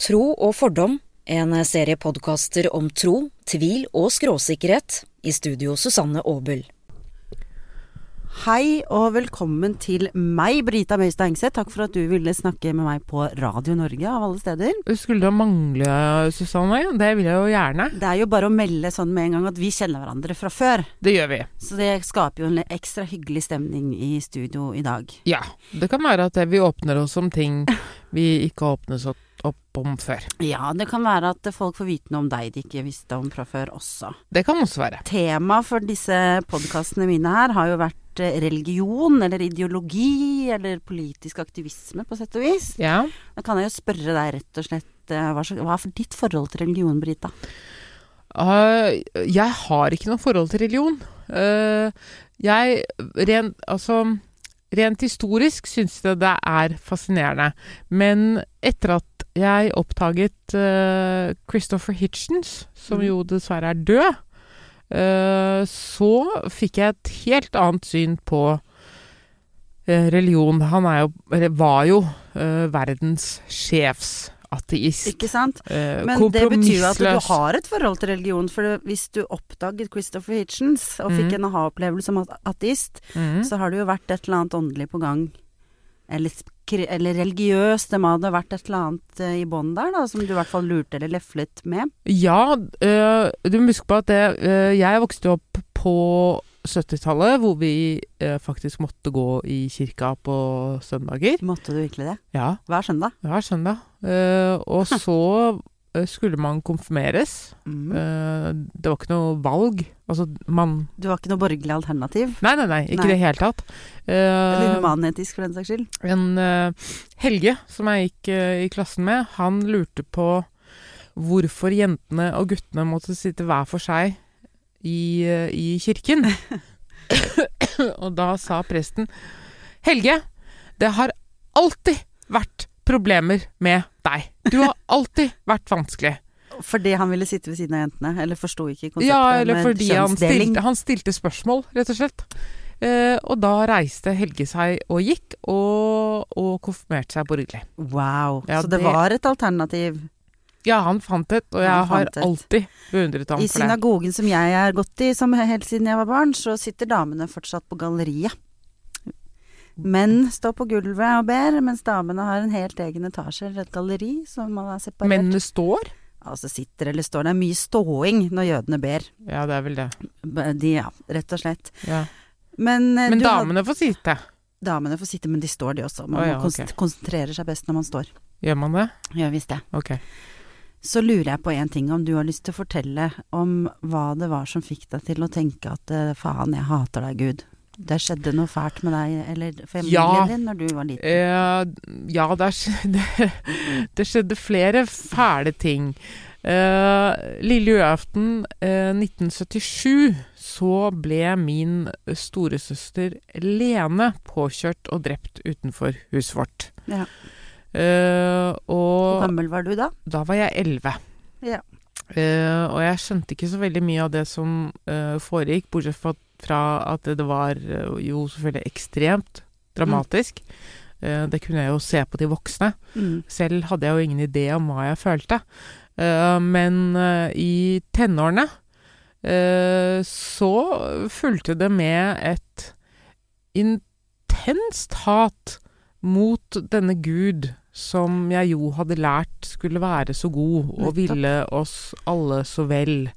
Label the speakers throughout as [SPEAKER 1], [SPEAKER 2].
[SPEAKER 1] Tro og fordom, en serie podkaster om tro, tvil og skråsikkerhet. I studio Susanne Aabel.
[SPEAKER 2] Hei og velkommen til meg, Brita Møystad Engseth. Takk for at du ville snakke med meg på Radio Norge, av alle steder.
[SPEAKER 3] Skulle det mangle, Susanne? Det vil jeg jo gjerne.
[SPEAKER 2] Det er jo bare å melde sånn med en gang at vi kjenner hverandre fra før.
[SPEAKER 3] Det gjør vi.
[SPEAKER 2] Så det skaper jo en ekstra hyggelig stemning i studio i dag.
[SPEAKER 3] Ja. Det kan være at vi åpner oss om ting vi ikke har åpnet oss opp om før.
[SPEAKER 2] Ja, det kan være at folk får vite noe om deg de ikke visste om fra før også.
[SPEAKER 3] Det kan også være.
[SPEAKER 2] Tema for disse podkastene mine her har jo vært eh, religion eller ideologi eller politisk aktivisme, på sett og vis.
[SPEAKER 3] Ja.
[SPEAKER 2] Da kan jeg jo spørre deg rett og slett eh, hva, slags, hva er for ditt forhold til religion, Brita?
[SPEAKER 3] Øh, jeg har ikke noe forhold til religion. Øh, jeg rent, altså, rent historisk syns jeg det er fascinerende. Men etter at jeg oppdaget øh, Christopher Hitchens, som
[SPEAKER 2] Mhm.
[SPEAKER 3] jo dessverre er død, øh, så fikk jeg et helt annet syn på øh, religion. Han er jo, eller var jo øh, verdens sjefsateist.
[SPEAKER 2] Ikke sant?
[SPEAKER 3] øh,
[SPEAKER 2] Men det betyr jo at du
[SPEAKER 3] kompromissløs.
[SPEAKER 2] har et forhold til religion. For det- hvis du oppdaget Christopher Hitchens og
[SPEAKER 3] Mm.
[SPEAKER 2] fikk en aha-opplevelse som at- ateist,
[SPEAKER 3] Mhm.
[SPEAKER 2] så har det jo vært et eller annet åndelig på gang. Eller, skri- eller religiøst, det må ha vært et eller annet eh, i bånn der, da, som du i hvert fall lurte eller leflet med.
[SPEAKER 3] Ja, øh, du må huske på at det, øh, jeg vokste opp på 70-tallet, hvor vi øh, faktisk måtte gå i kirka på søndager.
[SPEAKER 2] Måtte du virkelig det?
[SPEAKER 3] Ja,
[SPEAKER 2] Hver søndag.
[SPEAKER 3] hver søndag. Øh, og så øh, skulle man konfirmeres.
[SPEAKER 2] Mm.
[SPEAKER 3] Øh, det var ikke noe valg. Altså, man
[SPEAKER 2] Du har ikke noe borgerlig alternativ?
[SPEAKER 3] Nei, nei, nei, ikke
[SPEAKER 2] Nei.
[SPEAKER 3] i det hele tatt. Øh,
[SPEAKER 2] Eller humanetisk, for den saks skyld?
[SPEAKER 3] En eh, Helge, som jeg gikk eh, i klassen med, han lurte på hvorfor jentene og guttene måtte sitte hver for seg i, eh, i kirken. og da sa presten Helge, det har alltid vært problemer med deg. Du har alltid vært vanskelig.
[SPEAKER 2] Fordi han ville sitte ved siden av jentene? Eller forsto ikke konseptet
[SPEAKER 3] Ja, eller
[SPEAKER 2] med
[SPEAKER 3] fordi han
[SPEAKER 2] kjønnsdeling?
[SPEAKER 3] stilte, han stilte spørsmål, rett og slett. Eh, og da reiste Helge seg og gikk, og, og konfirmerte seg borgerlig.
[SPEAKER 2] Wow.
[SPEAKER 3] Ja,
[SPEAKER 2] Så det
[SPEAKER 3] det-
[SPEAKER 2] var et alternativ?
[SPEAKER 3] Ja, han fant et, og jeg
[SPEAKER 2] Han
[SPEAKER 3] har
[SPEAKER 2] fant et.
[SPEAKER 3] alltid beundret ham
[SPEAKER 2] I
[SPEAKER 3] for det.
[SPEAKER 2] synagogen som jeg har gått i som helt siden jeg var barn, så sitter damene fortsatt på galleriet. Menn står på gulvet og ber, mens damene har en helt egen etasje eller et galleri som man er separert.
[SPEAKER 3] Mennene står.
[SPEAKER 2] Altså sitter eller står. Det er mye ståing når jødene ber.
[SPEAKER 3] Ja, det er vel det.
[SPEAKER 2] B- De, ja, rett og slett.
[SPEAKER 3] Ja.
[SPEAKER 2] Men, eh,
[SPEAKER 3] Men
[SPEAKER 2] du har-
[SPEAKER 3] damene får sitte.
[SPEAKER 2] damene får sitte, men de står de også. Man
[SPEAKER 3] Å, ja,
[SPEAKER 2] må kons-
[SPEAKER 3] ok.
[SPEAKER 2] konsentrere seg best når man står.
[SPEAKER 3] Gjør man det?
[SPEAKER 2] Ja visst det.
[SPEAKER 3] Ok.
[SPEAKER 2] Så lurer jeg på en ting, om du har lyst til å fortelle om hva det var som fikk deg til å tenke at eh, faen, jeg hater deg, Gud. Det skjedde noe fælt med deg eller familien
[SPEAKER 3] Ja.
[SPEAKER 2] din når du var liten.
[SPEAKER 3] Eh, ja, det, er, skjedde, det skjedde flere fæle ting. Eh, lille julaften eh, 1977 så ble min storesøster Lene påkjørt og drept utenfor huset vårt.
[SPEAKER 2] Ja.
[SPEAKER 3] Eh,
[SPEAKER 2] Hvor
[SPEAKER 3] og
[SPEAKER 2] gammel var du da?
[SPEAKER 3] Da var jeg elleve.
[SPEAKER 2] Ja.
[SPEAKER 3] Eh, og jeg skjønte ikke så veldig mye av det som eh, foregikk, bortsett fra, fra at det var eh, jo selvfølgelig ekstremt dramatisk. Eh, det kunne jeg jo se på de voksne.
[SPEAKER 2] Mm.
[SPEAKER 3] Selv hadde jeg jo ingen idé om hva jeg følte. Eh, men eh, i tenårene eh, så fulgte det med et intenst hat mot denne Gud som jeg jo hadde lært skulle være så god og
[SPEAKER 2] Nettopp.
[SPEAKER 3] ville oss alle så vel.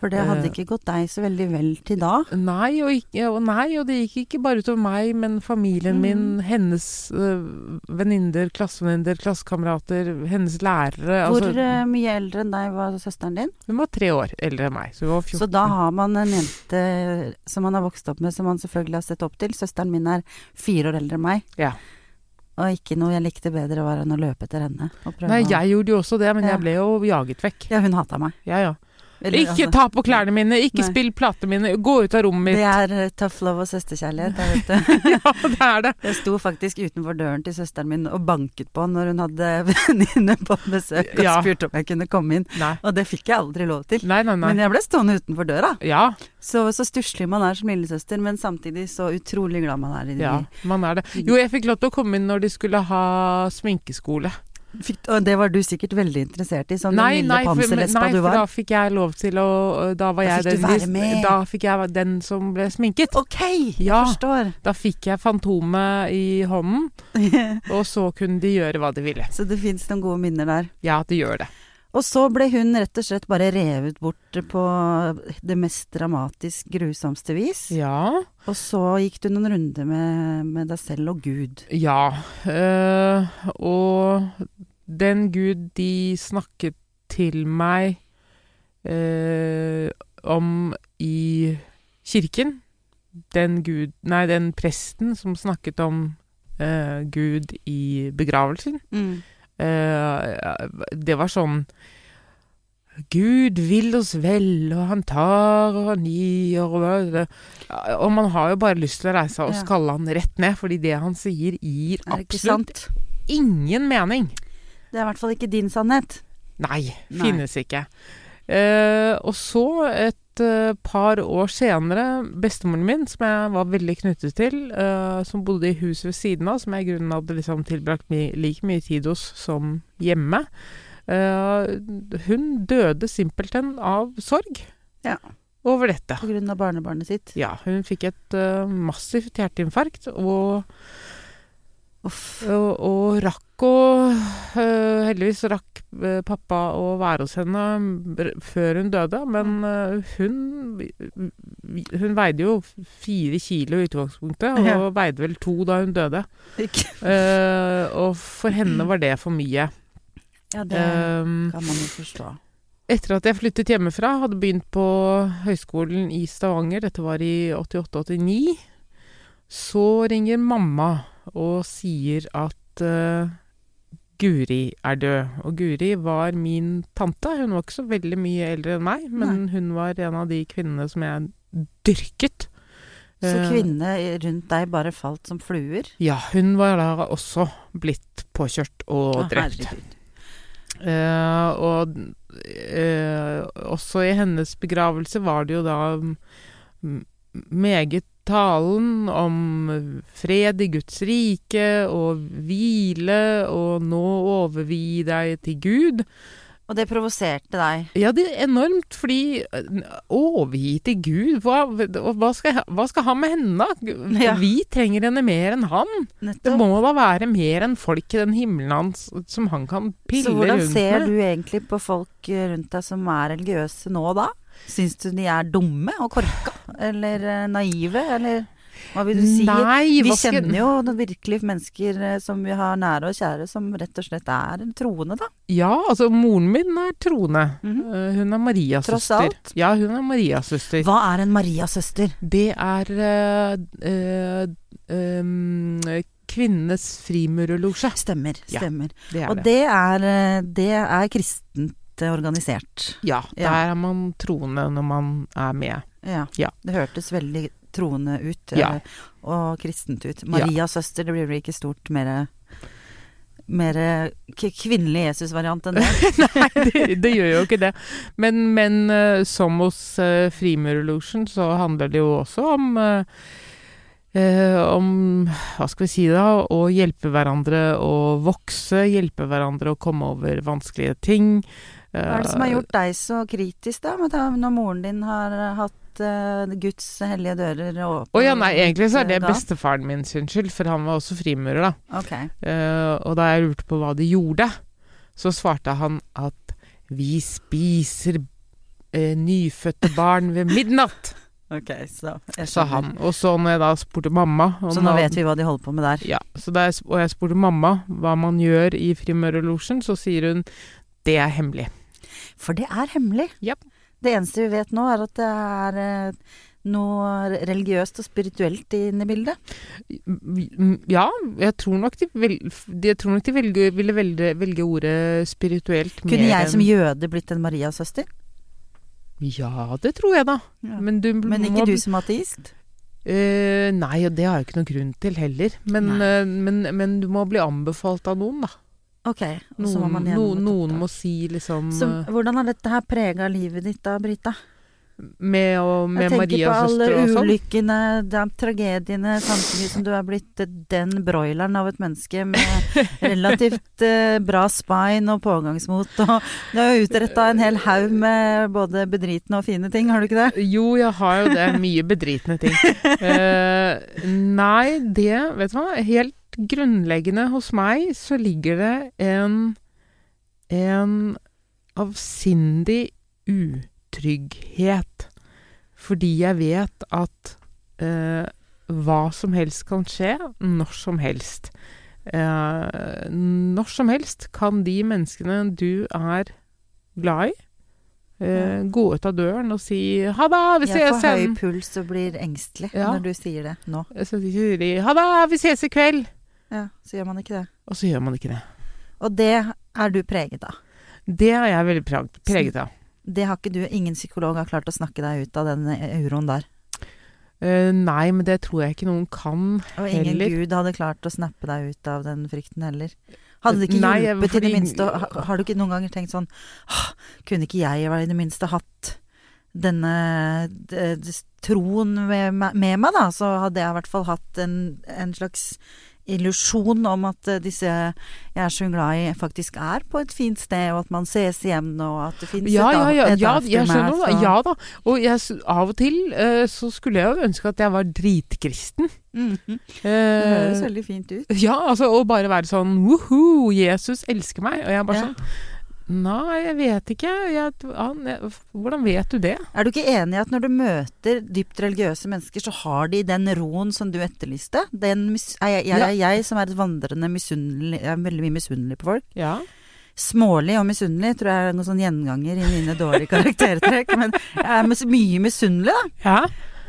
[SPEAKER 2] For det hadde
[SPEAKER 3] Eh.
[SPEAKER 2] ikke gått deg så veldig vel til da.
[SPEAKER 3] Nei og, ikke, og nei, og det gikk ikke bare utover meg, men familien min,
[SPEAKER 2] Mm.
[SPEAKER 3] hennes øh, venninner, klassevenninner, klassekamerater, hennes lærere.
[SPEAKER 2] Hvor
[SPEAKER 3] altså,
[SPEAKER 2] eh, mye eldre enn deg var søsteren din?
[SPEAKER 3] hun var tre år eldre enn meg, så hun var 14.
[SPEAKER 2] Så da har man en jente eh, som man har vokst opp med, som man selvfølgelig har sett opp til. Søsteren min er fire år eldre enn meg.
[SPEAKER 3] Ja.
[SPEAKER 2] Og ikke noe jeg likte bedre var enn å løpe etter henne. Og prøve
[SPEAKER 3] Nei,
[SPEAKER 2] å-
[SPEAKER 3] jeg gjorde jo også det, men
[SPEAKER 2] Ja.
[SPEAKER 3] jeg ble jo jaget vekk.
[SPEAKER 2] Ja, hun hata meg.
[SPEAKER 3] Ja, ja.
[SPEAKER 2] Eller,
[SPEAKER 3] Ikke
[SPEAKER 2] altså-
[SPEAKER 3] ta på klærne mine, ikke
[SPEAKER 2] Nei.
[SPEAKER 3] spill platene mine, gå ut av rommet mitt.
[SPEAKER 2] Det er eh, tough love og søsterkjærlighet, jeg vet det.
[SPEAKER 3] Ja, det er det.
[SPEAKER 2] Jeg sto faktisk utenfor døren til søsteren min og banket på når hun hadde venninne på besøk og
[SPEAKER 3] Ja.
[SPEAKER 2] spurte om jeg kunne komme inn.
[SPEAKER 3] Nei,
[SPEAKER 2] Og det fikk jeg aldri lov til.
[SPEAKER 3] nei, nei. nei.
[SPEAKER 2] Men jeg ble stående utenfor døra.
[SPEAKER 3] Ja,
[SPEAKER 2] Så, så stusslig man er som lillesøster, men samtidig så utrolig glad man er i det.
[SPEAKER 3] ja, man er det. Jo, jeg fikk lov til å komme inn når de skulle ha sminkeskole.
[SPEAKER 2] Fikk, og det var du sikkert veldig interessert i, som den
[SPEAKER 3] Nei,
[SPEAKER 2] lille
[SPEAKER 3] nei, for, men-
[SPEAKER 2] pamselespa
[SPEAKER 3] nei,
[SPEAKER 2] du
[SPEAKER 3] for da
[SPEAKER 2] var.
[SPEAKER 3] fikk jeg lov til å Da var
[SPEAKER 2] Da
[SPEAKER 3] jeg
[SPEAKER 2] fikk du
[SPEAKER 3] den,
[SPEAKER 2] være med.
[SPEAKER 3] da fikk jeg den som ble sminket.
[SPEAKER 2] Ok, jeg
[SPEAKER 3] Ja.
[SPEAKER 2] forstår.
[SPEAKER 3] Da fikk jeg Fantomet i hånden, og så kunne de gjøre hva de ville.
[SPEAKER 2] Så det fins noen gode minner der.
[SPEAKER 3] Ja, de gjør det.
[SPEAKER 2] Og så ble hun rett og slett bare revet bort på det mest dramatisk grusomste vis.
[SPEAKER 3] Ja.
[SPEAKER 2] Og så gikk du noen runder med, med deg selv og Gud.
[SPEAKER 3] Ja. øh, og den gud de snakket til meg øh, om i kirken, den gud Nei, den presten som snakket om øh, Gud i begravelsen.
[SPEAKER 2] Mm.
[SPEAKER 3] Eh, det var sånn Gud vil oss vel, og han tar og han gir og, og man har jo bare lyst til å reise seg og
[SPEAKER 2] Ja.
[SPEAKER 3] skalle han rett ned, fordi det han sier, gir
[SPEAKER 2] Er det ikke
[SPEAKER 3] absolutt
[SPEAKER 2] sant?
[SPEAKER 3] ingen mening.
[SPEAKER 2] Det er i hvert fall ikke din sannhet.
[SPEAKER 3] Nei,
[SPEAKER 2] Nei.
[SPEAKER 3] finnes ikke. Eh, og så, et eh, par år senere, bestemoren min, som jeg var veldig knyttet til, eh, som bodde i huset ved siden av, som jeg i grunnen hadde liksom tilbrakt mi, like mye tid hos som hjemme, eh, hun døde simpelthen av sorg
[SPEAKER 2] Ja.
[SPEAKER 3] over dette.
[SPEAKER 2] På grunn av barnebarnet sitt.
[SPEAKER 3] Ja, hun fikk et eh, massivt hjerteinfarkt og
[SPEAKER 2] Uff.
[SPEAKER 3] og, og rakk å øh, Heldigvis rakk øh, pappa å være hos henne br- før hun døde, men
[SPEAKER 2] Mm.
[SPEAKER 3] øh, hun Hun veide jo fire kilo i utgangspunktet, og
[SPEAKER 2] Ja.
[SPEAKER 3] veide vel to da hun døde.
[SPEAKER 2] Ikke-
[SPEAKER 3] Eh, og for henne var det for mye.
[SPEAKER 2] Mm. Ja, det
[SPEAKER 3] Eh,
[SPEAKER 2] kan man jo forstå.
[SPEAKER 3] etter at jeg flyttet hjemmefra, hadde begynt på høyskolen i Stavanger, dette var i 88-89, så ringer mamma og sier at eh, Guri er død. Og Guri var min tante. Hun var ikke så veldig mye eldre enn meg, men hun var en av de kvinnene som jeg dyrket.
[SPEAKER 2] Så
[SPEAKER 3] Eh,
[SPEAKER 2] kvinnene rundt deg bare falt som fluer?
[SPEAKER 3] Ja, hun var da også blitt påkjørt og
[SPEAKER 2] Å,
[SPEAKER 3] drept.
[SPEAKER 2] herregud.
[SPEAKER 3] Eh, og eh, også i hennes begravelse var det jo da mm, meget talen om fred i Guds rike og hvile og nå overgi deg til Gud.
[SPEAKER 2] Og det provoserte deg?
[SPEAKER 3] Ja, det er enormt, fordi eh, overgi til Gud, hva, og hva, skal, hva skal han med henne da?
[SPEAKER 2] Ja.
[SPEAKER 3] Vi trenger henne mer enn han. Det
[SPEAKER 2] Nettopp.
[SPEAKER 3] må da være mer enn folk i den himmelen hans som han kan pille
[SPEAKER 2] Så
[SPEAKER 3] rundt med.
[SPEAKER 2] hvordan ser du egentlig på folk eh, rundt deg som er religiøse nå da? Syns du de er dumme og korka? Eller eh, naive? Eller hva vil du si?
[SPEAKER 3] Nei,
[SPEAKER 2] Vi
[SPEAKER 3] hva skal-
[SPEAKER 2] kjenner jo noen virkelig mennesker eh, som vi har nære og kjære, som rett og slett er troende, da.
[SPEAKER 3] Ja, altså moren min er troende.
[SPEAKER 2] Mhm.
[SPEAKER 3] Eh, Hun er Marias
[SPEAKER 2] Tross
[SPEAKER 3] søster.
[SPEAKER 2] alt.
[SPEAKER 3] Ja, hun er Marias søster.
[SPEAKER 2] Hva er en Mariasøster?
[SPEAKER 3] Det er eh, eh, em, Kvinnenes frimurerlosje.
[SPEAKER 2] Stemmer.
[SPEAKER 3] Ja,
[SPEAKER 2] stemmer.
[SPEAKER 3] Det er
[SPEAKER 2] og
[SPEAKER 3] det.
[SPEAKER 2] det er, eh, det er kristent eh, organisert.
[SPEAKER 3] Ja,
[SPEAKER 2] Ja.
[SPEAKER 3] der er man troende når man er med.
[SPEAKER 2] Ja.
[SPEAKER 3] Ja.
[SPEAKER 2] Det hørtes veldig troende ut,
[SPEAKER 3] Ja.
[SPEAKER 2] eller- og kristent ut. Marias søster, det blir vel ikke stort mer mer k- kvinnelig Jesus-variant enn det.
[SPEAKER 3] Nei, det, det gjør jo ikke det. Men, men eh, som hos uh, frimurerlosjen så handler det jo også om eh, eh, om hva skal vi si da, å hjelpe hverandre å vokse, hjelpe hverandre å komme over vanskelige ting.
[SPEAKER 2] Hva er det som har gjort deg så kritisk, da? Med da når moren din har hatt eh, Guds hellige dører åpne?
[SPEAKER 3] Eh,
[SPEAKER 2] eh,
[SPEAKER 3] Å ja, nei, egentlig så er det
[SPEAKER 2] Da?
[SPEAKER 3] bestefaren min sin skyld, for han var også frimurer, da.
[SPEAKER 2] Ok.
[SPEAKER 3] Eh, og da jeg lurte på hva de gjorde, så svarte han at vi spiser eh, nyfødte barn ved midnatt,
[SPEAKER 2] ok, så jeg
[SPEAKER 3] sa
[SPEAKER 2] skjønner.
[SPEAKER 3] han. Og så når jeg da spurte mamma om
[SPEAKER 2] Så nå
[SPEAKER 3] hva-
[SPEAKER 2] vet vi hva de holder på med der.
[SPEAKER 3] Ja, så da jeg, sp- og jeg spurte mamma hva man gjør i frimurerlosjen, så sier hun det er hemmelig.
[SPEAKER 2] For det er hemmelig.
[SPEAKER 3] Japp.
[SPEAKER 2] Det eneste vi vet nå, er at det er eh, noe religiøst og spirituelt inne i bildet.
[SPEAKER 3] Mm, Ja, jeg tror nok de, vel, de- jeg tror nok de velge, ville velge, velge ordet spirituelt mer
[SPEAKER 2] Kunne jeg som
[SPEAKER 3] enn-
[SPEAKER 2] jøde blitt en Mariasøster?
[SPEAKER 3] Ja, det tror jeg da.
[SPEAKER 2] Men,
[SPEAKER 3] Men, du
[SPEAKER 2] ikke
[SPEAKER 3] må,
[SPEAKER 2] du som ateist?
[SPEAKER 3] Eh, nei, og det har jeg ikke noen grunn til heller. Men,
[SPEAKER 2] Nei.
[SPEAKER 3] eh, men, men du må bli anbefalt av noen, da.
[SPEAKER 2] Ok, og så må
[SPEAKER 3] Noen,
[SPEAKER 2] man
[SPEAKER 3] noen,
[SPEAKER 2] gjennom et
[SPEAKER 3] noen
[SPEAKER 2] oppdrag.
[SPEAKER 3] må si liksom
[SPEAKER 2] så, Hvordan har dette her prega livet ditt da, Brita?
[SPEAKER 3] eh, Med, og, med Marias
[SPEAKER 2] Jeg
[SPEAKER 3] søster
[SPEAKER 2] tenker
[SPEAKER 3] og
[SPEAKER 2] på alle
[SPEAKER 3] sånn.
[SPEAKER 2] ulykkene, de tragediene, samtidig som du er blitt den broileren av et menneske med relativt eh, bra spine og pågangsmot. Og du har jo utretta en hel haug med både bedritne og fine ting, har du ikke det?
[SPEAKER 3] Jo, jeg har jo det. Mye bedritne ting. Eh, nei, det Vet du hva? Helt grunnleggende hos meg så ligger det en En avsindig utrygghet. Fordi jeg vet at eh, hva som helst kan skje, når som helst. Eh, når som helst kan de menneskene du er glad i, eh, gå ut av døren og si 'ha det, vi
[SPEAKER 2] Jeg
[SPEAKER 3] ses
[SPEAKER 2] får høy
[SPEAKER 3] igjen'.
[SPEAKER 2] puls og blir engstelig
[SPEAKER 3] Ja.
[SPEAKER 2] når du sier det nå.
[SPEAKER 3] Så sier de 'ha det, vi ses i kveld',
[SPEAKER 2] Ja, så gjør man ikke det.
[SPEAKER 3] og så gjør man ikke det.
[SPEAKER 2] Og det er du preget av.
[SPEAKER 3] Det er jeg veldig prag- preget av.
[SPEAKER 2] Det har ikke du, ingen psykolog har klart å snakke deg ut av den eh, uroen der.
[SPEAKER 3] Eh, nei, men det tror jeg ikke noen kan.
[SPEAKER 2] Og ingen
[SPEAKER 3] Heller.
[SPEAKER 2] gud hadde klart å snappe deg ut av den frykten heller. Hadde det ikke
[SPEAKER 3] Nei, jeg-
[SPEAKER 2] hjulpet i det
[SPEAKER 3] fordi-
[SPEAKER 2] minste å- ha- Har du ikke noen ganger tenkt sånn «Åh, Kunne ikke jeg i det minste hatt denne d- d- troen med, me- med meg, da? Så hadde jeg i hvert fall hatt en, en slags illusjon om at eh, disse jeg er så glad i, faktisk er på et fint sted, og at man ses igjen, og at det fins
[SPEAKER 3] Ja, ja, ja,
[SPEAKER 2] et
[SPEAKER 3] ja,
[SPEAKER 2] aftermath,
[SPEAKER 3] jeg skjønner. hva-
[SPEAKER 2] og-
[SPEAKER 3] Ja da. Og jeg, s- av og til eh, så skulle jeg jo ønske at jeg var dritkristen.
[SPEAKER 2] Mhm. Det
[SPEAKER 3] Eh,
[SPEAKER 2] høres veldig fint ut.
[SPEAKER 3] Ja, altså, og bare være sånn Woho, Jesus elsker meg. Og jeg er bare
[SPEAKER 2] Ja.
[SPEAKER 3] sånn Nei, jeg vet ikke. Jeg, han, jeg, hvordan vet du det?
[SPEAKER 2] Er du ikke enig i at når du møter dypt religiøse mennesker, så har de den roen som du etterlyste? Den mis er jeg, jeg,
[SPEAKER 3] Ja.
[SPEAKER 2] jeg, jeg som er et vandrende misunnelig Jeg er veldig mye misunnelig på folk.
[SPEAKER 3] Ja.
[SPEAKER 2] Smålig og misunnelig tror jeg er noen sånn gjenganger i mine dårlige karaktertrekk. Men jeg er mis mye misunnelig, da.
[SPEAKER 3] Ja.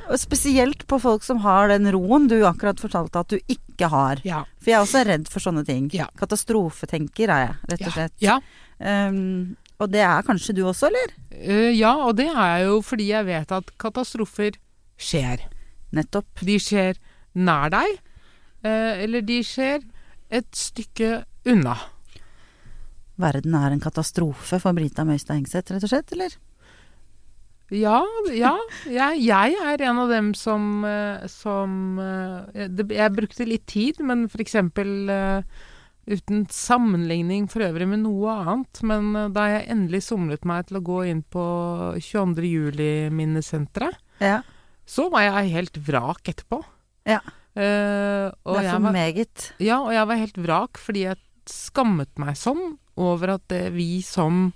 [SPEAKER 2] Og spesielt på folk som har den roen du akkurat fortalte at du ikke har.
[SPEAKER 3] Ja.
[SPEAKER 2] For jeg er også redd for sånne ting.
[SPEAKER 3] Ja.
[SPEAKER 2] Katastrofetenker er jeg, rett og slett.
[SPEAKER 3] ja.
[SPEAKER 2] Um, og det er kanskje du også, eller?
[SPEAKER 3] Eh, ja, og det er jeg jo fordi jeg vet at katastrofer skjer.
[SPEAKER 2] Nettopp.
[SPEAKER 3] De skjer nær deg, eh, eller de skjer et stykke unna.
[SPEAKER 2] Verden er en katastrofe for Brita Møystad Hengseth, rett og slett, eller?
[SPEAKER 3] Ja, ja. Jeg, jeg er en av dem som, eh, som eh, det, Jeg brukte litt tid, men for eksempel eh, Uten sammenligning for øvrig med noe annet, men eh, da jeg endelig somlet meg til å gå inn på 22. juli-minnesenteret,
[SPEAKER 2] Ja.
[SPEAKER 3] så var jeg helt vrak etterpå.
[SPEAKER 2] Ja.
[SPEAKER 3] Eh, og
[SPEAKER 2] det er
[SPEAKER 3] jeg
[SPEAKER 2] for
[SPEAKER 3] var,
[SPEAKER 2] meget.
[SPEAKER 3] ja, og jeg var helt vrak fordi jeg skammet meg sånn over at eh, vi som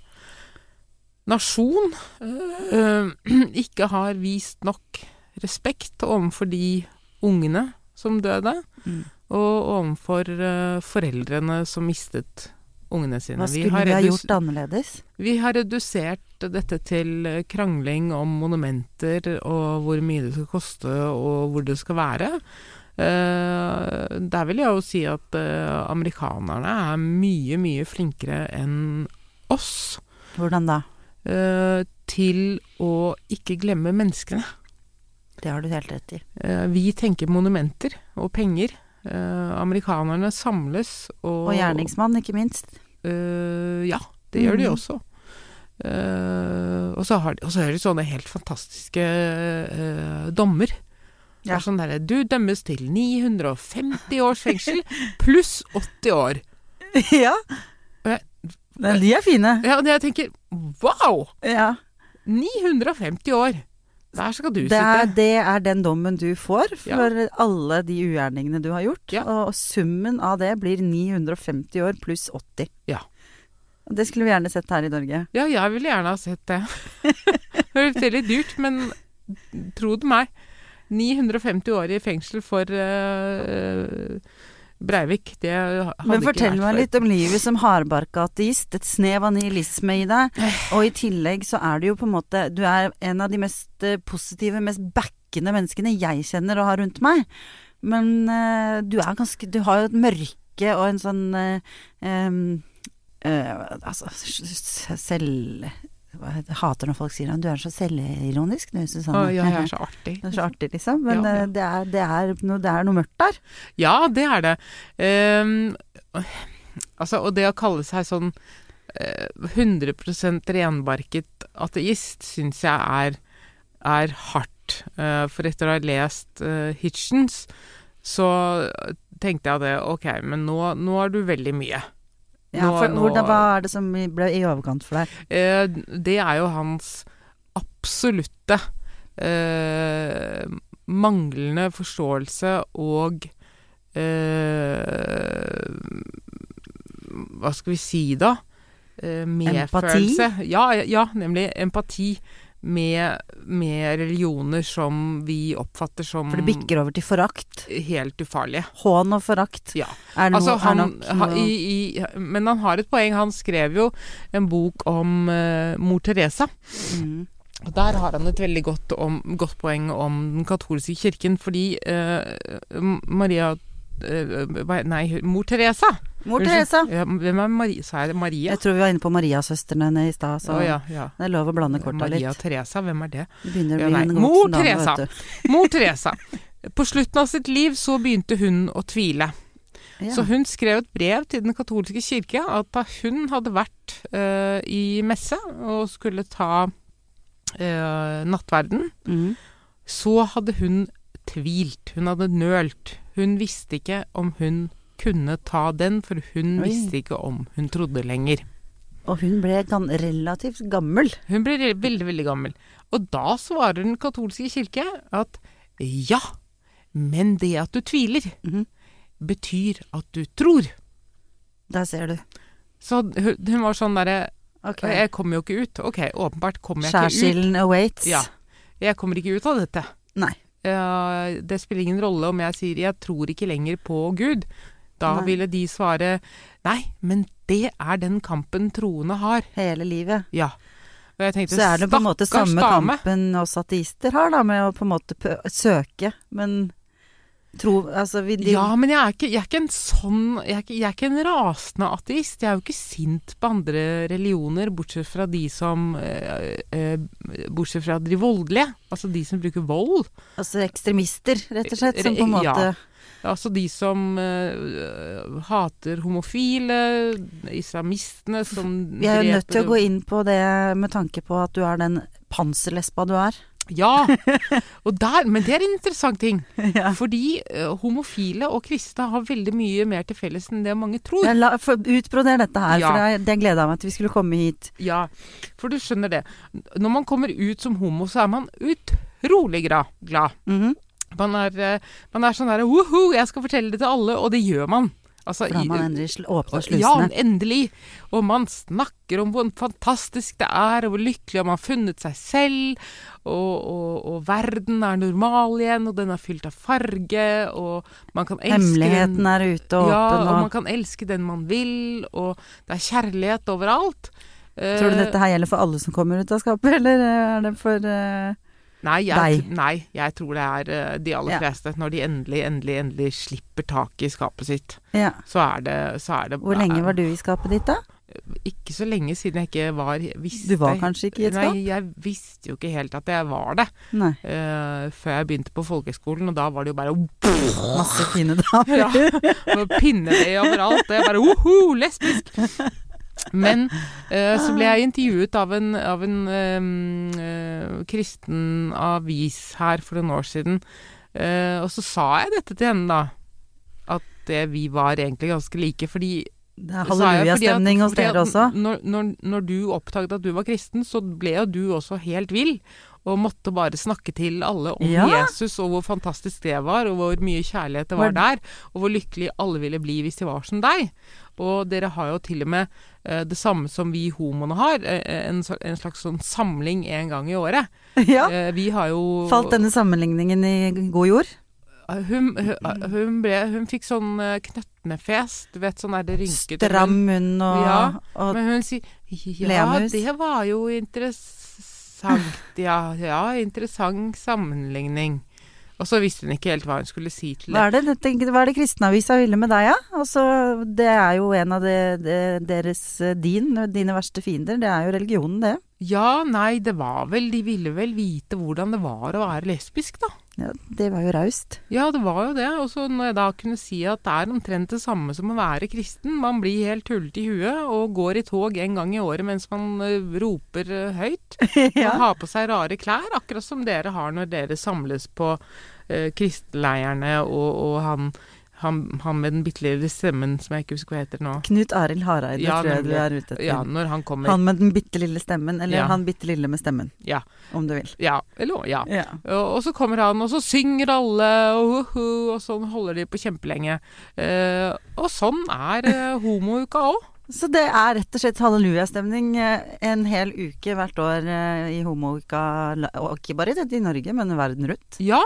[SPEAKER 3] nasjon eh, ikke har vist nok respekt overfor de ungene som døde,
[SPEAKER 2] Mm.
[SPEAKER 3] og overfor eh, foreldrene som mistet ungene sine.
[SPEAKER 2] Hva
[SPEAKER 3] Vi
[SPEAKER 2] skulle vi,
[SPEAKER 3] har
[SPEAKER 2] ha
[SPEAKER 3] redus-
[SPEAKER 2] gjort annerledes?
[SPEAKER 3] vi har redusert dette til eh, krangling om monumenter og hvor mye det skal koste og hvor det skal være. Eh, Der vil jeg jo si at eh, amerikanerne er mye, mye flinkere enn oss
[SPEAKER 2] Hvordan da?
[SPEAKER 3] eh, til å ikke glemme menneskene.
[SPEAKER 2] Det har du helt rett i.
[SPEAKER 3] Eh, Vi tenker monumenter og penger. Eh, Amerikanerne samles
[SPEAKER 2] Og
[SPEAKER 3] og
[SPEAKER 2] gjerningsmann, ikke minst.
[SPEAKER 3] Eh, ja, det gjør de
[SPEAKER 2] Mhm.
[SPEAKER 3] også. Eh, og, så har de, og så er det sånne helt fantastiske eh, dommer. Det
[SPEAKER 2] Ja.
[SPEAKER 3] er sånn derre Du dømmes til 950 års fengsel pluss 80 år.
[SPEAKER 2] ja.
[SPEAKER 3] Eh,
[SPEAKER 2] Men de er fine.
[SPEAKER 3] Ja, og jeg tenker Wow!
[SPEAKER 2] Ja.
[SPEAKER 3] 950 år! Der skal du
[SPEAKER 2] Det er,
[SPEAKER 3] sitte.
[SPEAKER 2] det er den dommen du får
[SPEAKER 3] Ja.
[SPEAKER 2] for alle de ugjerningene du har gjort.
[SPEAKER 3] Ja.
[SPEAKER 2] Og summen av det blir 950 år pluss 80.
[SPEAKER 3] Ja.
[SPEAKER 2] Det skulle vi gjerne sett her i Norge.
[SPEAKER 3] Ja, jeg ville gjerne ha sett det. det høres veldig dyrt, men tro det meg. 950 år i fengsel for eh, Breivik, det hadde
[SPEAKER 2] Men
[SPEAKER 3] ikke
[SPEAKER 2] fortell
[SPEAKER 3] vært
[SPEAKER 2] meg
[SPEAKER 3] for-
[SPEAKER 2] litt om livet som hardbarka ateist. Et snev av nihilisme i deg.
[SPEAKER 3] Eh.
[SPEAKER 2] Og i tillegg så er du jo på en måte Du er en av de mest eh, positive, mest backende menneskene jeg kjenner og har rundt meg. Men eh, du er ganske Du har jo et mørke og en sånn eh, em, eh, Altså s- s- selv... hva heter- Jeg hater når folk sier at du er så selvironisk, du, Susanne.
[SPEAKER 3] Å, ja, jeg er så artig.
[SPEAKER 2] Det er så artig, liksom. Men
[SPEAKER 3] Ja, ja.
[SPEAKER 2] eh, Det, er, det, er noe, det er noe mørkt der.
[SPEAKER 3] Ja, det er det. Ehm, altså, og det å kalle seg sånn eh, 100 renbarket ateist syns jeg er er hardt. Eh, For etter å ha lest eh, Hitchens, så tenkte jeg det Ok, men nå, nå er du veldig mye.
[SPEAKER 2] Ja,
[SPEAKER 3] Nå-
[SPEAKER 2] for,
[SPEAKER 3] nå-
[SPEAKER 2] hvordan, hva er det som ble i overkant for deg?
[SPEAKER 3] Eh, Det er jo hans absolutte eh, manglende forståelse og eh, Hva skal vi si da? Eh, medfølelse. Ja, ja, nemlig empati med, med religioner som vi oppfatter som
[SPEAKER 2] For det bikker over til forakt.
[SPEAKER 3] helt ufarlige.
[SPEAKER 2] Hån og forakt.
[SPEAKER 3] Ja.
[SPEAKER 2] Er det
[SPEAKER 3] Altså,
[SPEAKER 2] noe,
[SPEAKER 3] han,
[SPEAKER 2] er nok
[SPEAKER 3] ha,
[SPEAKER 2] noe-
[SPEAKER 3] i, i, men han har et poeng. Han skrev jo en bok om eh, mor Teresa.
[SPEAKER 2] Mm.
[SPEAKER 3] Og Der har han et veldig godt, om, godt poeng om den katolske kirken, fordi eh, Maria eh, hva- Nei, mor Teresa!
[SPEAKER 2] Mor
[SPEAKER 3] Unnskyld.
[SPEAKER 2] Teresa.
[SPEAKER 3] Ja, hvem er Marie? Sa jeg det? Maria?
[SPEAKER 2] Jeg tror vi var inne på Mariasøstrene henne i stad, så
[SPEAKER 3] Å, ja, ja.
[SPEAKER 2] det er lov å blande korta
[SPEAKER 3] Maria
[SPEAKER 2] litt.
[SPEAKER 3] Teresa, hvem er det?
[SPEAKER 2] Det begynner å
[SPEAKER 3] Ja,
[SPEAKER 2] bli
[SPEAKER 3] nei.
[SPEAKER 2] en
[SPEAKER 3] Mor
[SPEAKER 2] voksen dame,
[SPEAKER 3] Teresa.
[SPEAKER 2] vet du.
[SPEAKER 3] Mor Teresa. På slutten av sitt liv så begynte hun å tvile.
[SPEAKER 2] Ja.
[SPEAKER 3] Så hun skrev et brev til den katolske kirke at da hun hadde vært eh, i messe og skulle ta eh, nattverden,
[SPEAKER 2] Mm.
[SPEAKER 3] så hadde hun tvilt. Hun hadde nølt. Hun visste ikke om hun kunne ta den, for hun
[SPEAKER 2] Oi.
[SPEAKER 3] visste ikke om hun trodde lenger.
[SPEAKER 2] Og hun ble gan relativt gammel.
[SPEAKER 3] Hun ble re- veldig, veldig gammel. Og da svarer den katolske kirke at ja, men det at du tviler,
[SPEAKER 2] Mhm.
[SPEAKER 3] betyr at du tror.
[SPEAKER 2] Der ser du.
[SPEAKER 3] Så hun hun var sånn derre
[SPEAKER 2] Ok.
[SPEAKER 3] Og Jeg kommer jo ikke ut. Ok, åpenbart kommer jeg ikke ut.
[SPEAKER 2] Skjærsilden awaits.
[SPEAKER 3] Ja. Jeg kommer ikke ut av dette.
[SPEAKER 2] Nei.
[SPEAKER 3] Eh, det spiller ingen rolle om jeg sier 'jeg tror ikke lenger på Gud'. Da
[SPEAKER 2] Nei.
[SPEAKER 3] ville de svare 'nei, men det er den kampen troende har'.
[SPEAKER 2] Hele livet.
[SPEAKER 3] Ja. Og jeg tenkte,
[SPEAKER 2] Så er det på en måte
[SPEAKER 3] stakkars
[SPEAKER 2] samme
[SPEAKER 3] dame.
[SPEAKER 2] kampen oss ateister har, da, med å på en måte pø- søke, men tro Altså, vi de,
[SPEAKER 3] Ja, men jeg er ikke, jeg er ikke en sånn jeg er ikke, jeg er ikke en rasende ateist. Jeg er jo ikke sint på andre religioner, bortsett fra de som eh, eh, Bortsett fra de voldelige. Altså de som bruker vold.
[SPEAKER 2] altså ekstremister, rett og slett, som på en
[SPEAKER 3] Ja.
[SPEAKER 2] måte
[SPEAKER 3] Altså de som eh, hater homofile, islamistene som
[SPEAKER 2] Vi er jo nødt til å gå inn på det med tanke på at du er den panserlespa du er.
[SPEAKER 3] Ja! Og der, men det er en interessant ting.
[SPEAKER 2] Ja.
[SPEAKER 3] Fordi eh, homofile og kristne har veldig mye mer til felles enn det mange tror.
[SPEAKER 2] Jeg la, for, utbroder dette her,
[SPEAKER 3] Ja.
[SPEAKER 2] for det, det gleda jeg meg til vi skulle komme hit.
[SPEAKER 3] Ja, For du skjønner det. Når man kommer ut som homo, så er man utrolig gra- glad.
[SPEAKER 2] Mhm.
[SPEAKER 3] Man er, eh, man er sånn derre Woho, jeg skal fortelle det til alle! Og det gjør man. Altså,
[SPEAKER 2] For da har man
[SPEAKER 3] i-
[SPEAKER 2] endelig sl- åpna
[SPEAKER 3] Ja,
[SPEAKER 2] slusene.
[SPEAKER 3] endelig. Og man snakker om hvor fantastisk det er, og hvor lykkelig man har funnet seg selv, og, og, og verden er normal igjen, og den er fylt av farge, og man kan elske
[SPEAKER 2] Hemmeligheten
[SPEAKER 3] den.
[SPEAKER 2] er ute og
[SPEAKER 3] ja, og
[SPEAKER 2] åpen.
[SPEAKER 3] man kan elske den man vil, og det er kjærlighet overalt.
[SPEAKER 2] Og, tror du
[SPEAKER 3] eh,
[SPEAKER 2] dette her gjelder for alle som kommer ut av skapet, eller eh, er det for eh,
[SPEAKER 3] Nei jeg,
[SPEAKER 2] Deg.
[SPEAKER 3] nei, jeg tror det er eh, de aller
[SPEAKER 2] Ja.
[SPEAKER 3] fleste. Når de endelig, endelig, endelig slipper taket i skapet sitt,
[SPEAKER 2] Ja.
[SPEAKER 3] så er det, så er det eh,
[SPEAKER 2] Hvor lenge var du i skapet ditt, da?
[SPEAKER 3] Ikke så lenge siden jeg ikke var visste,
[SPEAKER 2] Du var kanskje ikke i et skap?
[SPEAKER 3] Nei, jeg visste jo ikke helt at jeg var det
[SPEAKER 2] Nei.
[SPEAKER 3] eh, før jeg begynte på folkehøgskolen, og da var det jo bare
[SPEAKER 2] Masse fine damer.
[SPEAKER 3] ja, og pinneved overalt, og jeg bare oho, lesbisk! Men eh, så ble jeg intervjuet av en, av en eh, eh, kristen avis her for noen år siden, eh, og så sa jeg dette til henne, da. At eh, vi var egentlig ganske like, fordi
[SPEAKER 2] Det er
[SPEAKER 3] Så er jeg- fordi at-
[SPEAKER 2] hallelujastemning hos
[SPEAKER 3] fordi at
[SPEAKER 2] dere også.
[SPEAKER 3] Når, når, når du oppdaget at du var kristen, så ble jo du også helt vill. Og måtte bare snakke til alle om
[SPEAKER 2] Ja.
[SPEAKER 3] Jesus og hvor fantastisk det var, og hvor mye kjærlighet det var
[SPEAKER 2] Var-
[SPEAKER 3] der, og hvor lykkelig alle ville bli hvis de var som deg. Og dere har jo til og med eh, det samme som vi homoene har, eh, en, sl- en slags sånn samling en gang i året.
[SPEAKER 2] Ja.
[SPEAKER 3] Eh, vi har jo
[SPEAKER 2] Falt denne sammenligningen i god jord?
[SPEAKER 3] Hun, hun, hun, ble, hun fikk sånn eh, knøttnefes, du vet sånn er det rynkete
[SPEAKER 2] Stram munn og,
[SPEAKER 3] Ja,
[SPEAKER 2] og
[SPEAKER 3] Men hun sier Ja,
[SPEAKER 2] Leamus.
[SPEAKER 3] det var jo interessant. Ja, ja, interessant sammenligning. Og så visste hun ikke helt hva hun skulle si til
[SPEAKER 2] hva
[SPEAKER 3] det.
[SPEAKER 2] er det, dette- hva er det kristenavisa ville med deg, ja? Altså, det er jo en av det, det, deres eh, din, dine verste fiender. Det er jo religionen, det.
[SPEAKER 3] Ja, nei, det var vel De ville vel vite hvordan det var å være lesbisk, da.
[SPEAKER 2] Ja, det var jo raust.
[SPEAKER 3] Ja, det var jo det. Og så når jeg da kunne si at det er omtrent det samme som å være kristen. Man blir helt tullete i huet og går i tog en gang i året mens man eh, roper eh, høyt.
[SPEAKER 2] Ja.
[SPEAKER 3] Og har på seg rare klær, akkurat som dere har når dere samles på eh, kristenleirene og, og han, han, han med den bitte lille stemmen som jeg ikke husker hva heter nå.
[SPEAKER 2] Knut Arild Hareide
[SPEAKER 3] Ja,
[SPEAKER 2] tror jeg
[SPEAKER 3] nemlig.
[SPEAKER 2] du er ute etter.
[SPEAKER 3] Ja, når han kommer.
[SPEAKER 2] Han med den bitte lille stemmen, eller
[SPEAKER 3] Ja.
[SPEAKER 2] han bitte lille med stemmen,
[SPEAKER 3] Ja.
[SPEAKER 2] om du vil.
[SPEAKER 3] Ja. Eller, ja.
[SPEAKER 2] Ja.
[SPEAKER 3] Og og så kommer han, og så synger alle, og, hoho, og sånn holder de på kjempelenge. Eh, og sånn er eh, homouka òg.
[SPEAKER 2] Så det er rett og slett hallelujastemning eh, en hel uke hvert år eh, i homouka, la- og ikke bare i- i Norge, men verden rundt.
[SPEAKER 3] Ja.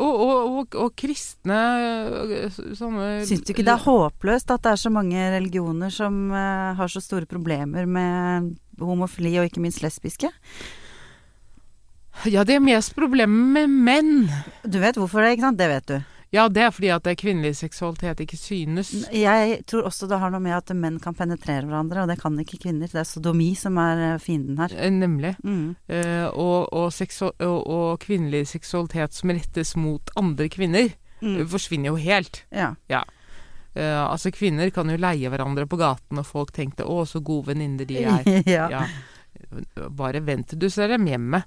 [SPEAKER 3] Og, og, og, og kristne eh, sånne
[SPEAKER 2] Syns du ikke det er håpløst at det er så mange religioner som eh, har så store problemer med homofili, og ikke minst lesbiske?
[SPEAKER 3] Ja, det er mest problemet med menn.
[SPEAKER 2] Du vet hvorfor det, ikke sant? Det vet du.
[SPEAKER 3] Ja, det er fordi at det er kvinnelig seksualitet ikke synes.
[SPEAKER 2] Jeg tror også det har noe med at menn kan penetrere hverandre, og det kan ikke kvinner. Det er sodomi som er eh, fienden her.
[SPEAKER 3] Eh, Nemlig.
[SPEAKER 2] Mm.
[SPEAKER 3] Eh, og, og, seksu- og, og kvinnelig seksualitet som rettes mot andre kvinner, eh,
[SPEAKER 2] Mm.
[SPEAKER 3] forsvinner jo helt.
[SPEAKER 2] Ja.
[SPEAKER 3] Eh, altså Kvinner kan jo leie hverandre på gaten, og folk tenkte 'å, så gode venninner de er'.
[SPEAKER 2] ja.
[SPEAKER 3] ja. Bare vent til du ser dem hjemme.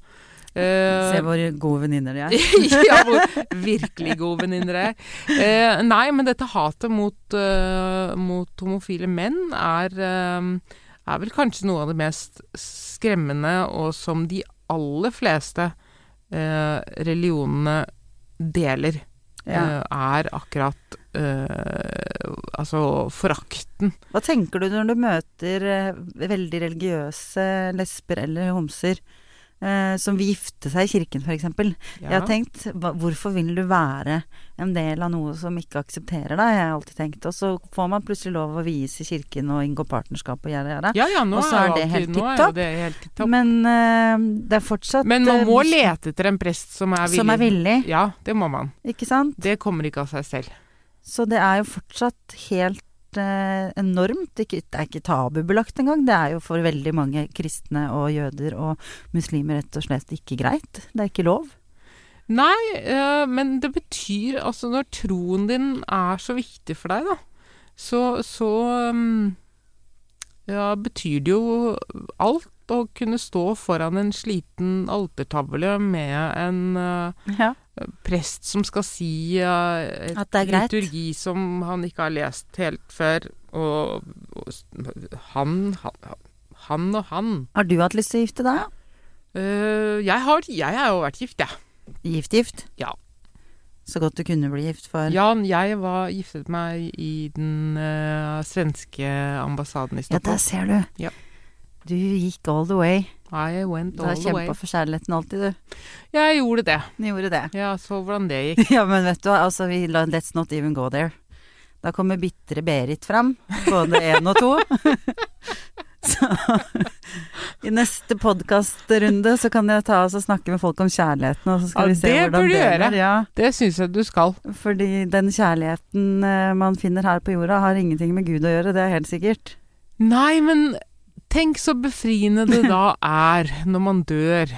[SPEAKER 3] Eh,
[SPEAKER 2] Se hvor gode venninner de er.
[SPEAKER 3] ja, hvor virkelig gode venninner de er. Eh, nei, men dette hatet mot, eh, mot homofile menn er, eh, er vel kanskje noe av det mest skremmende, og som de aller fleste eh, religionene deler.
[SPEAKER 2] Ja.
[SPEAKER 3] eh, er akkurat eh, altså forakten.
[SPEAKER 2] Hva tenker du når du møter eh, veldig religiøse lesber eller homser eh, som vil gifte seg i kirken, f.eks.?
[SPEAKER 3] Ja.
[SPEAKER 2] Jeg har tenkt hva, hvorfor vil du være en del av noe som ikke aksepterer deg? Jeg har alltid tenkt. Og så får man plutselig lov å vies i kirken og inngå partnerskap og gjøre det.
[SPEAKER 3] ja, ja, nå
[SPEAKER 2] Og så er
[SPEAKER 3] jo
[SPEAKER 2] det
[SPEAKER 3] alltid-
[SPEAKER 2] helt
[SPEAKER 3] nå er jo
[SPEAKER 2] tipp-topp.
[SPEAKER 3] det helt tipp-topp.
[SPEAKER 2] Men eh, det er fortsatt
[SPEAKER 3] Men man
[SPEAKER 2] eh,
[SPEAKER 3] må lete etter en prest som er villig.
[SPEAKER 2] som er villig,
[SPEAKER 3] Ja, det må man.
[SPEAKER 2] ikke sant?
[SPEAKER 3] Det kommer ikke av seg selv.
[SPEAKER 2] Så det er jo fortsatt helt eh, enormt. Det er ikke- det er ikke tabubelagt engang. Det er jo for veldig mange kristne og jøder og muslimer rett og slett ikke greit. Det er ikke lov.
[SPEAKER 3] Nei, eh, men det betyr altså Når troen din er så viktig for deg, da, så, så mm, ja, betyr det jo alt å kunne stå foran en sliten altertavle med en eh, prest som skal si eh, et
[SPEAKER 2] At det er greit.
[SPEAKER 3] liturgi som han ikke har lest helt før, og, og s- han, han, han og han.
[SPEAKER 2] Har du hatt lyst til å gifte deg?
[SPEAKER 3] Eh, jeg, har, jeg har jo vært gift, jeg.
[SPEAKER 2] Gift, gift.
[SPEAKER 3] Ja.
[SPEAKER 2] Så godt du kunne bli gift for.
[SPEAKER 3] Jan, jeg var giftet meg i den eh, svenske ambassaden i
[SPEAKER 2] Ja, der
[SPEAKER 3] Stockholm.
[SPEAKER 2] ser du.
[SPEAKER 3] Ja.
[SPEAKER 2] Du gikk all the way.
[SPEAKER 3] I went
[SPEAKER 2] Du
[SPEAKER 3] all
[SPEAKER 2] har
[SPEAKER 3] the way.
[SPEAKER 2] kjempa for kjærligheten alltid, du.
[SPEAKER 3] Jeg gjorde det.
[SPEAKER 2] Du gjorde det.
[SPEAKER 3] Jeg så hvordan det gikk.
[SPEAKER 2] Ja, men vet du hva, altså, vi, la- let's not even go there. Da kommer bitre Berit fram, både én og to. Så i neste podkastrunde så kan jeg ta oss og snakke med folk om kjærligheten, og så skal
[SPEAKER 3] Ja,
[SPEAKER 2] vi se
[SPEAKER 3] det
[SPEAKER 2] hvordan
[SPEAKER 3] burde
[SPEAKER 2] det
[SPEAKER 3] du gjøre.
[SPEAKER 2] går. Ja,
[SPEAKER 3] Det syns jeg du skal.
[SPEAKER 2] fordi den kjærligheten eh, man finner her på jorda, har ingenting med Gud å gjøre, det er helt sikkert.
[SPEAKER 3] Nei, men tenk så befriende det da er når man dør.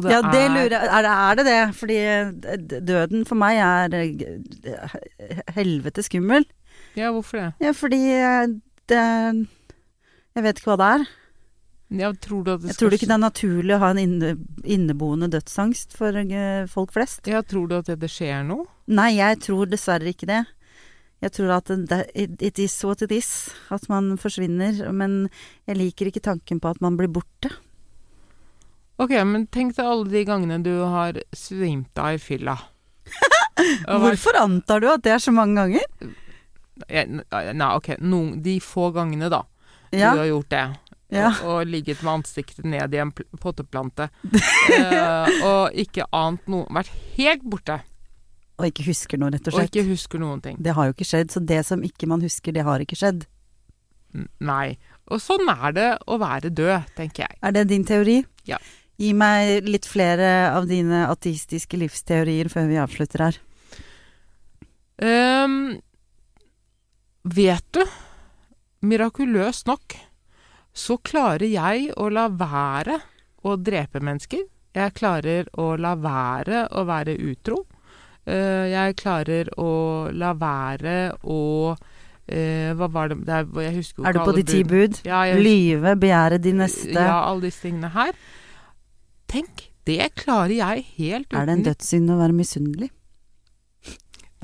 [SPEAKER 3] Og
[SPEAKER 2] ja, det
[SPEAKER 3] er-
[SPEAKER 2] lurer jeg er, det- er det det? Fordi eh, d- døden for meg er eh, g- helvete skummel.
[SPEAKER 3] Ja, hvorfor det?
[SPEAKER 2] Ja, fordi eh, det Jeg vet ikke hva det er.
[SPEAKER 3] Ja, tror du at det
[SPEAKER 2] Jeg tror ikke det er naturlig å ha en inne, inneboende dødsangst for eh, folk flest.
[SPEAKER 3] Ja, tror du at det, det skjer noe?
[SPEAKER 2] Nei, jeg tror dessverre ikke det. Jeg tror at det, it it is what it is. At man forsvinner. Men jeg liker ikke tanken på at man blir borte.
[SPEAKER 3] Ok, men tenk deg alle de gangene du har svimt av i fylla. Og vært
[SPEAKER 2] Hvorfor antar du at det er så mange ganger?
[SPEAKER 3] Ja, Nei, ok, noen, de få gangene da
[SPEAKER 2] Ja,
[SPEAKER 3] du har gjort det.
[SPEAKER 2] ja.
[SPEAKER 3] Og, og ligget med ansiktet ned i en pl- potteplante. eh, og ikke ant noe Vært helt borte
[SPEAKER 2] Og ikke husker noe, rett og
[SPEAKER 3] og
[SPEAKER 2] slett.
[SPEAKER 3] ikke husker noen ting.
[SPEAKER 2] Det har jo ikke skjedd, så det som ikke man husker, det har ikke skjedd.
[SPEAKER 3] N- Nei. Og sånn er det å være død, tenker jeg.
[SPEAKER 2] Er det din teori?
[SPEAKER 3] Ja.
[SPEAKER 2] Gi meg litt flere av dine ateistiske livsteorier før vi avslutter her.
[SPEAKER 3] Ehm, vet du, mirakuløst nok, så klarer jeg å la være å drepe mennesker Jeg klarer å la være å være utro. Eh, Jeg klarer å la være å eh, Hva var det, det er, Jeg husker jo
[SPEAKER 2] Er du
[SPEAKER 3] ikke
[SPEAKER 2] på
[SPEAKER 3] alle
[SPEAKER 2] de ti
[SPEAKER 3] bud.
[SPEAKER 2] bud?
[SPEAKER 3] Ja, jeg husker-
[SPEAKER 2] Lyve, begjære de neste.
[SPEAKER 3] Ja, alle disse tingene her. Tenk, det klarer jeg helt uten
[SPEAKER 2] Er det en dødssynd å være misunnelig?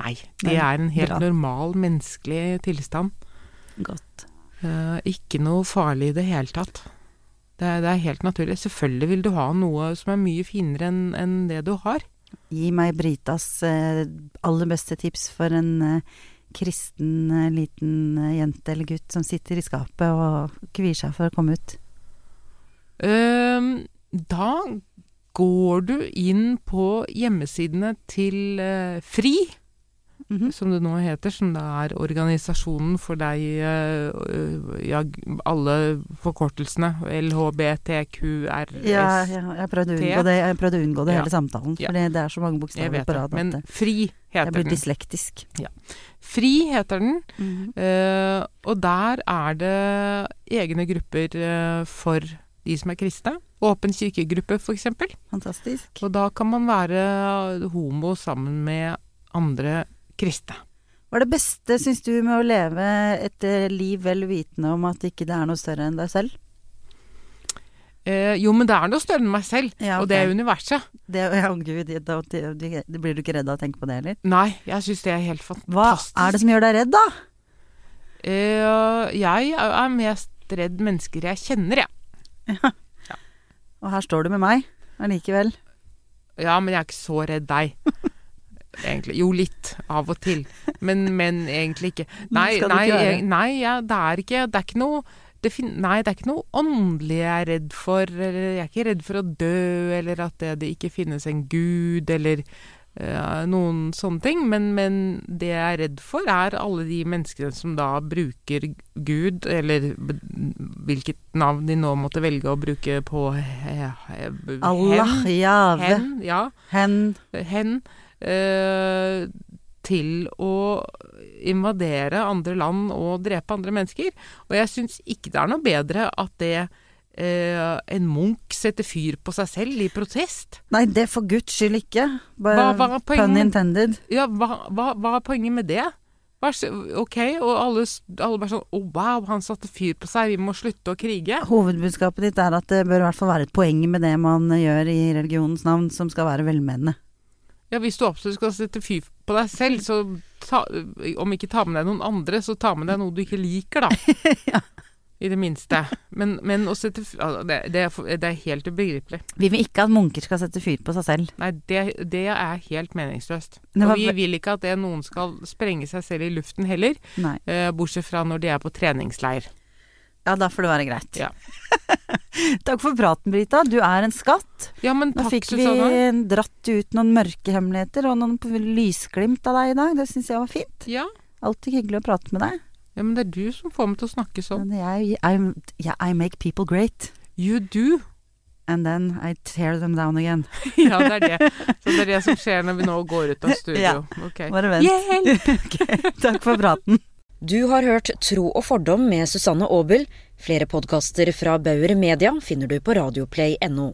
[SPEAKER 3] Nei, det er en helt
[SPEAKER 2] Bra.
[SPEAKER 3] normal menneskelig tilstand.
[SPEAKER 2] Godt.
[SPEAKER 3] Eh, ikke noe farlig i det hele tatt. Det er, det er helt naturlig. Selvfølgelig vil du ha noe som er mye finere enn enn det du har.
[SPEAKER 2] Gi meg Britas eh, aller beste tips for en eh, kristen eh, liten eh, jente eller gutt som sitter i skapet og kvier seg for å komme ut.
[SPEAKER 3] Ehm, da går du inn på hjemmesidene til eh, FRI,
[SPEAKER 2] Mhm.
[SPEAKER 3] som det nå heter, som da er organisasjonen for deg eh, øh, Ja, g- alle forkortelsene. LHBTQRS.
[SPEAKER 2] Ja, ja, jeg prøvde å unngå det, jeg prøvde å unngå det
[SPEAKER 3] Ja.
[SPEAKER 2] hele samtalen,
[SPEAKER 3] Ja.
[SPEAKER 2] fordi det er så mange
[SPEAKER 3] Jeg
[SPEAKER 2] bokstaver
[SPEAKER 3] vet
[SPEAKER 2] på
[SPEAKER 3] det.
[SPEAKER 2] rad
[SPEAKER 3] Men
[SPEAKER 2] at eh,
[SPEAKER 3] FRI heter
[SPEAKER 2] jeg blir
[SPEAKER 3] den.
[SPEAKER 2] dyslektisk.
[SPEAKER 3] FRI heter den.
[SPEAKER 2] Mhm.
[SPEAKER 3] Eh, og der er det egne grupper eh, for de som er kristne. Åpen kirkegruppe, f.eks.
[SPEAKER 2] Fantastisk.
[SPEAKER 3] Og da kan man være eh, homo sammen med andre kristne.
[SPEAKER 2] Hva er det beste, syns du, med å leve et eh, liv vel vitende om at ikke det er noe større enn deg selv?
[SPEAKER 3] Eh, jo, men det er noe større enn meg selv,
[SPEAKER 2] Ja,
[SPEAKER 3] og det er
[SPEAKER 2] ok.
[SPEAKER 3] universet.
[SPEAKER 2] Det, ja, gud, da, det, det blir du ikke redd av å tenke på det heller?
[SPEAKER 3] Nei, jeg syns det er helt
[SPEAKER 2] Hva
[SPEAKER 3] fantastisk.
[SPEAKER 2] er det som gjør deg redd, da?
[SPEAKER 3] Eh, jeg er mest redd mennesker jeg kjenner, jeg.
[SPEAKER 2] Og her står du med meg allikevel.
[SPEAKER 3] Ja, men jeg er ikke så redd deg. Egentlig. Jo, litt. Av og til. Men, men egentlig ikke. Nei,
[SPEAKER 2] skal du
[SPEAKER 3] nei,
[SPEAKER 2] ikke være.
[SPEAKER 3] jeg- nei ja, det er ikke Det er ikke noe det fin nei, det er ikke noe åndelig jeg er redd for. Eller jeg er ikke redd for å dø, eller at det, det ikke finnes en gud, eller eh, noen sånne ting. Men, men det jeg er redd for, er alle de menneskene som da bruker Gud, eller b- hvilket navn de nå måtte velge å bruke på eh, eh,
[SPEAKER 2] Allah,
[SPEAKER 3] hen,
[SPEAKER 2] jave,
[SPEAKER 3] hen, ja
[SPEAKER 2] hen.
[SPEAKER 3] hen eh, til å invadere andre land og drepe andre mennesker. Og jeg syns ikke det er noe bedre at det eh, en munk setter fyr på seg selv i protest.
[SPEAKER 2] Nei, det for guds skyld ikke. Bare
[SPEAKER 3] Hva- hva er poenget
[SPEAKER 2] pun
[SPEAKER 3] med-
[SPEAKER 2] intended.
[SPEAKER 3] Ja, hva, hva, hva er poenget med det? Hva er så- ok, og alle, s- alle bare sånn Å, wow, han satte fyr på seg, vi må slutte å krige.
[SPEAKER 2] Hovedbudskapet ditt er at det bør i hvert fall være et poeng med det man gjør i religionens navn, som skal være velmenende.
[SPEAKER 3] Ja, hvis du absolutt skal sette fyr på deg selv, så ta, om ikke ta med deg noen andre, så ta med deg noe du ikke liker, da. I det minste. Men, men å sette f- altså, det, det, er, for- det er helt ubegripelig.
[SPEAKER 2] Vi vil ikke at munker skal sette fyr på seg selv.
[SPEAKER 3] Nei, det, det er helt meningsløst.
[SPEAKER 2] Det
[SPEAKER 3] Og
[SPEAKER 2] var
[SPEAKER 3] vi
[SPEAKER 2] ve-
[SPEAKER 3] vil ikke at det noen skal sprenge seg selv i luften heller,
[SPEAKER 2] Nei.
[SPEAKER 3] eh, bortsett fra når de er på treningsleir.
[SPEAKER 2] Ja, da får det være greit.
[SPEAKER 3] Ja.
[SPEAKER 2] Takk for praten, Brita. Du er en skatt.
[SPEAKER 3] Ja, men
[SPEAKER 2] Nå
[SPEAKER 3] takk,
[SPEAKER 2] fikk vi
[SPEAKER 3] Susanne.
[SPEAKER 2] dratt ut noen mørke hemmeligheter og noen lysglimt av deg i dag. Det syns jeg var fint.
[SPEAKER 3] Ja.
[SPEAKER 2] Alltid hyggelig å prate med deg.
[SPEAKER 3] ja, men det er du som får meg til å snakke sånn.
[SPEAKER 2] Men jeg, I'm- yeah, I make people great,
[SPEAKER 3] You do.
[SPEAKER 2] and then I tear them down again.
[SPEAKER 3] Ja, det er det. Så det er det som skjer når vi nå går ut av studio.
[SPEAKER 2] Ja.
[SPEAKER 3] Ok.
[SPEAKER 2] Bare vent.
[SPEAKER 3] Hjelp!
[SPEAKER 2] Takk for praten.
[SPEAKER 1] Du har hørt Tro og fordom med Susanne Aabel. Flere podkaster fra Bauer Media finner du på radioplay.no.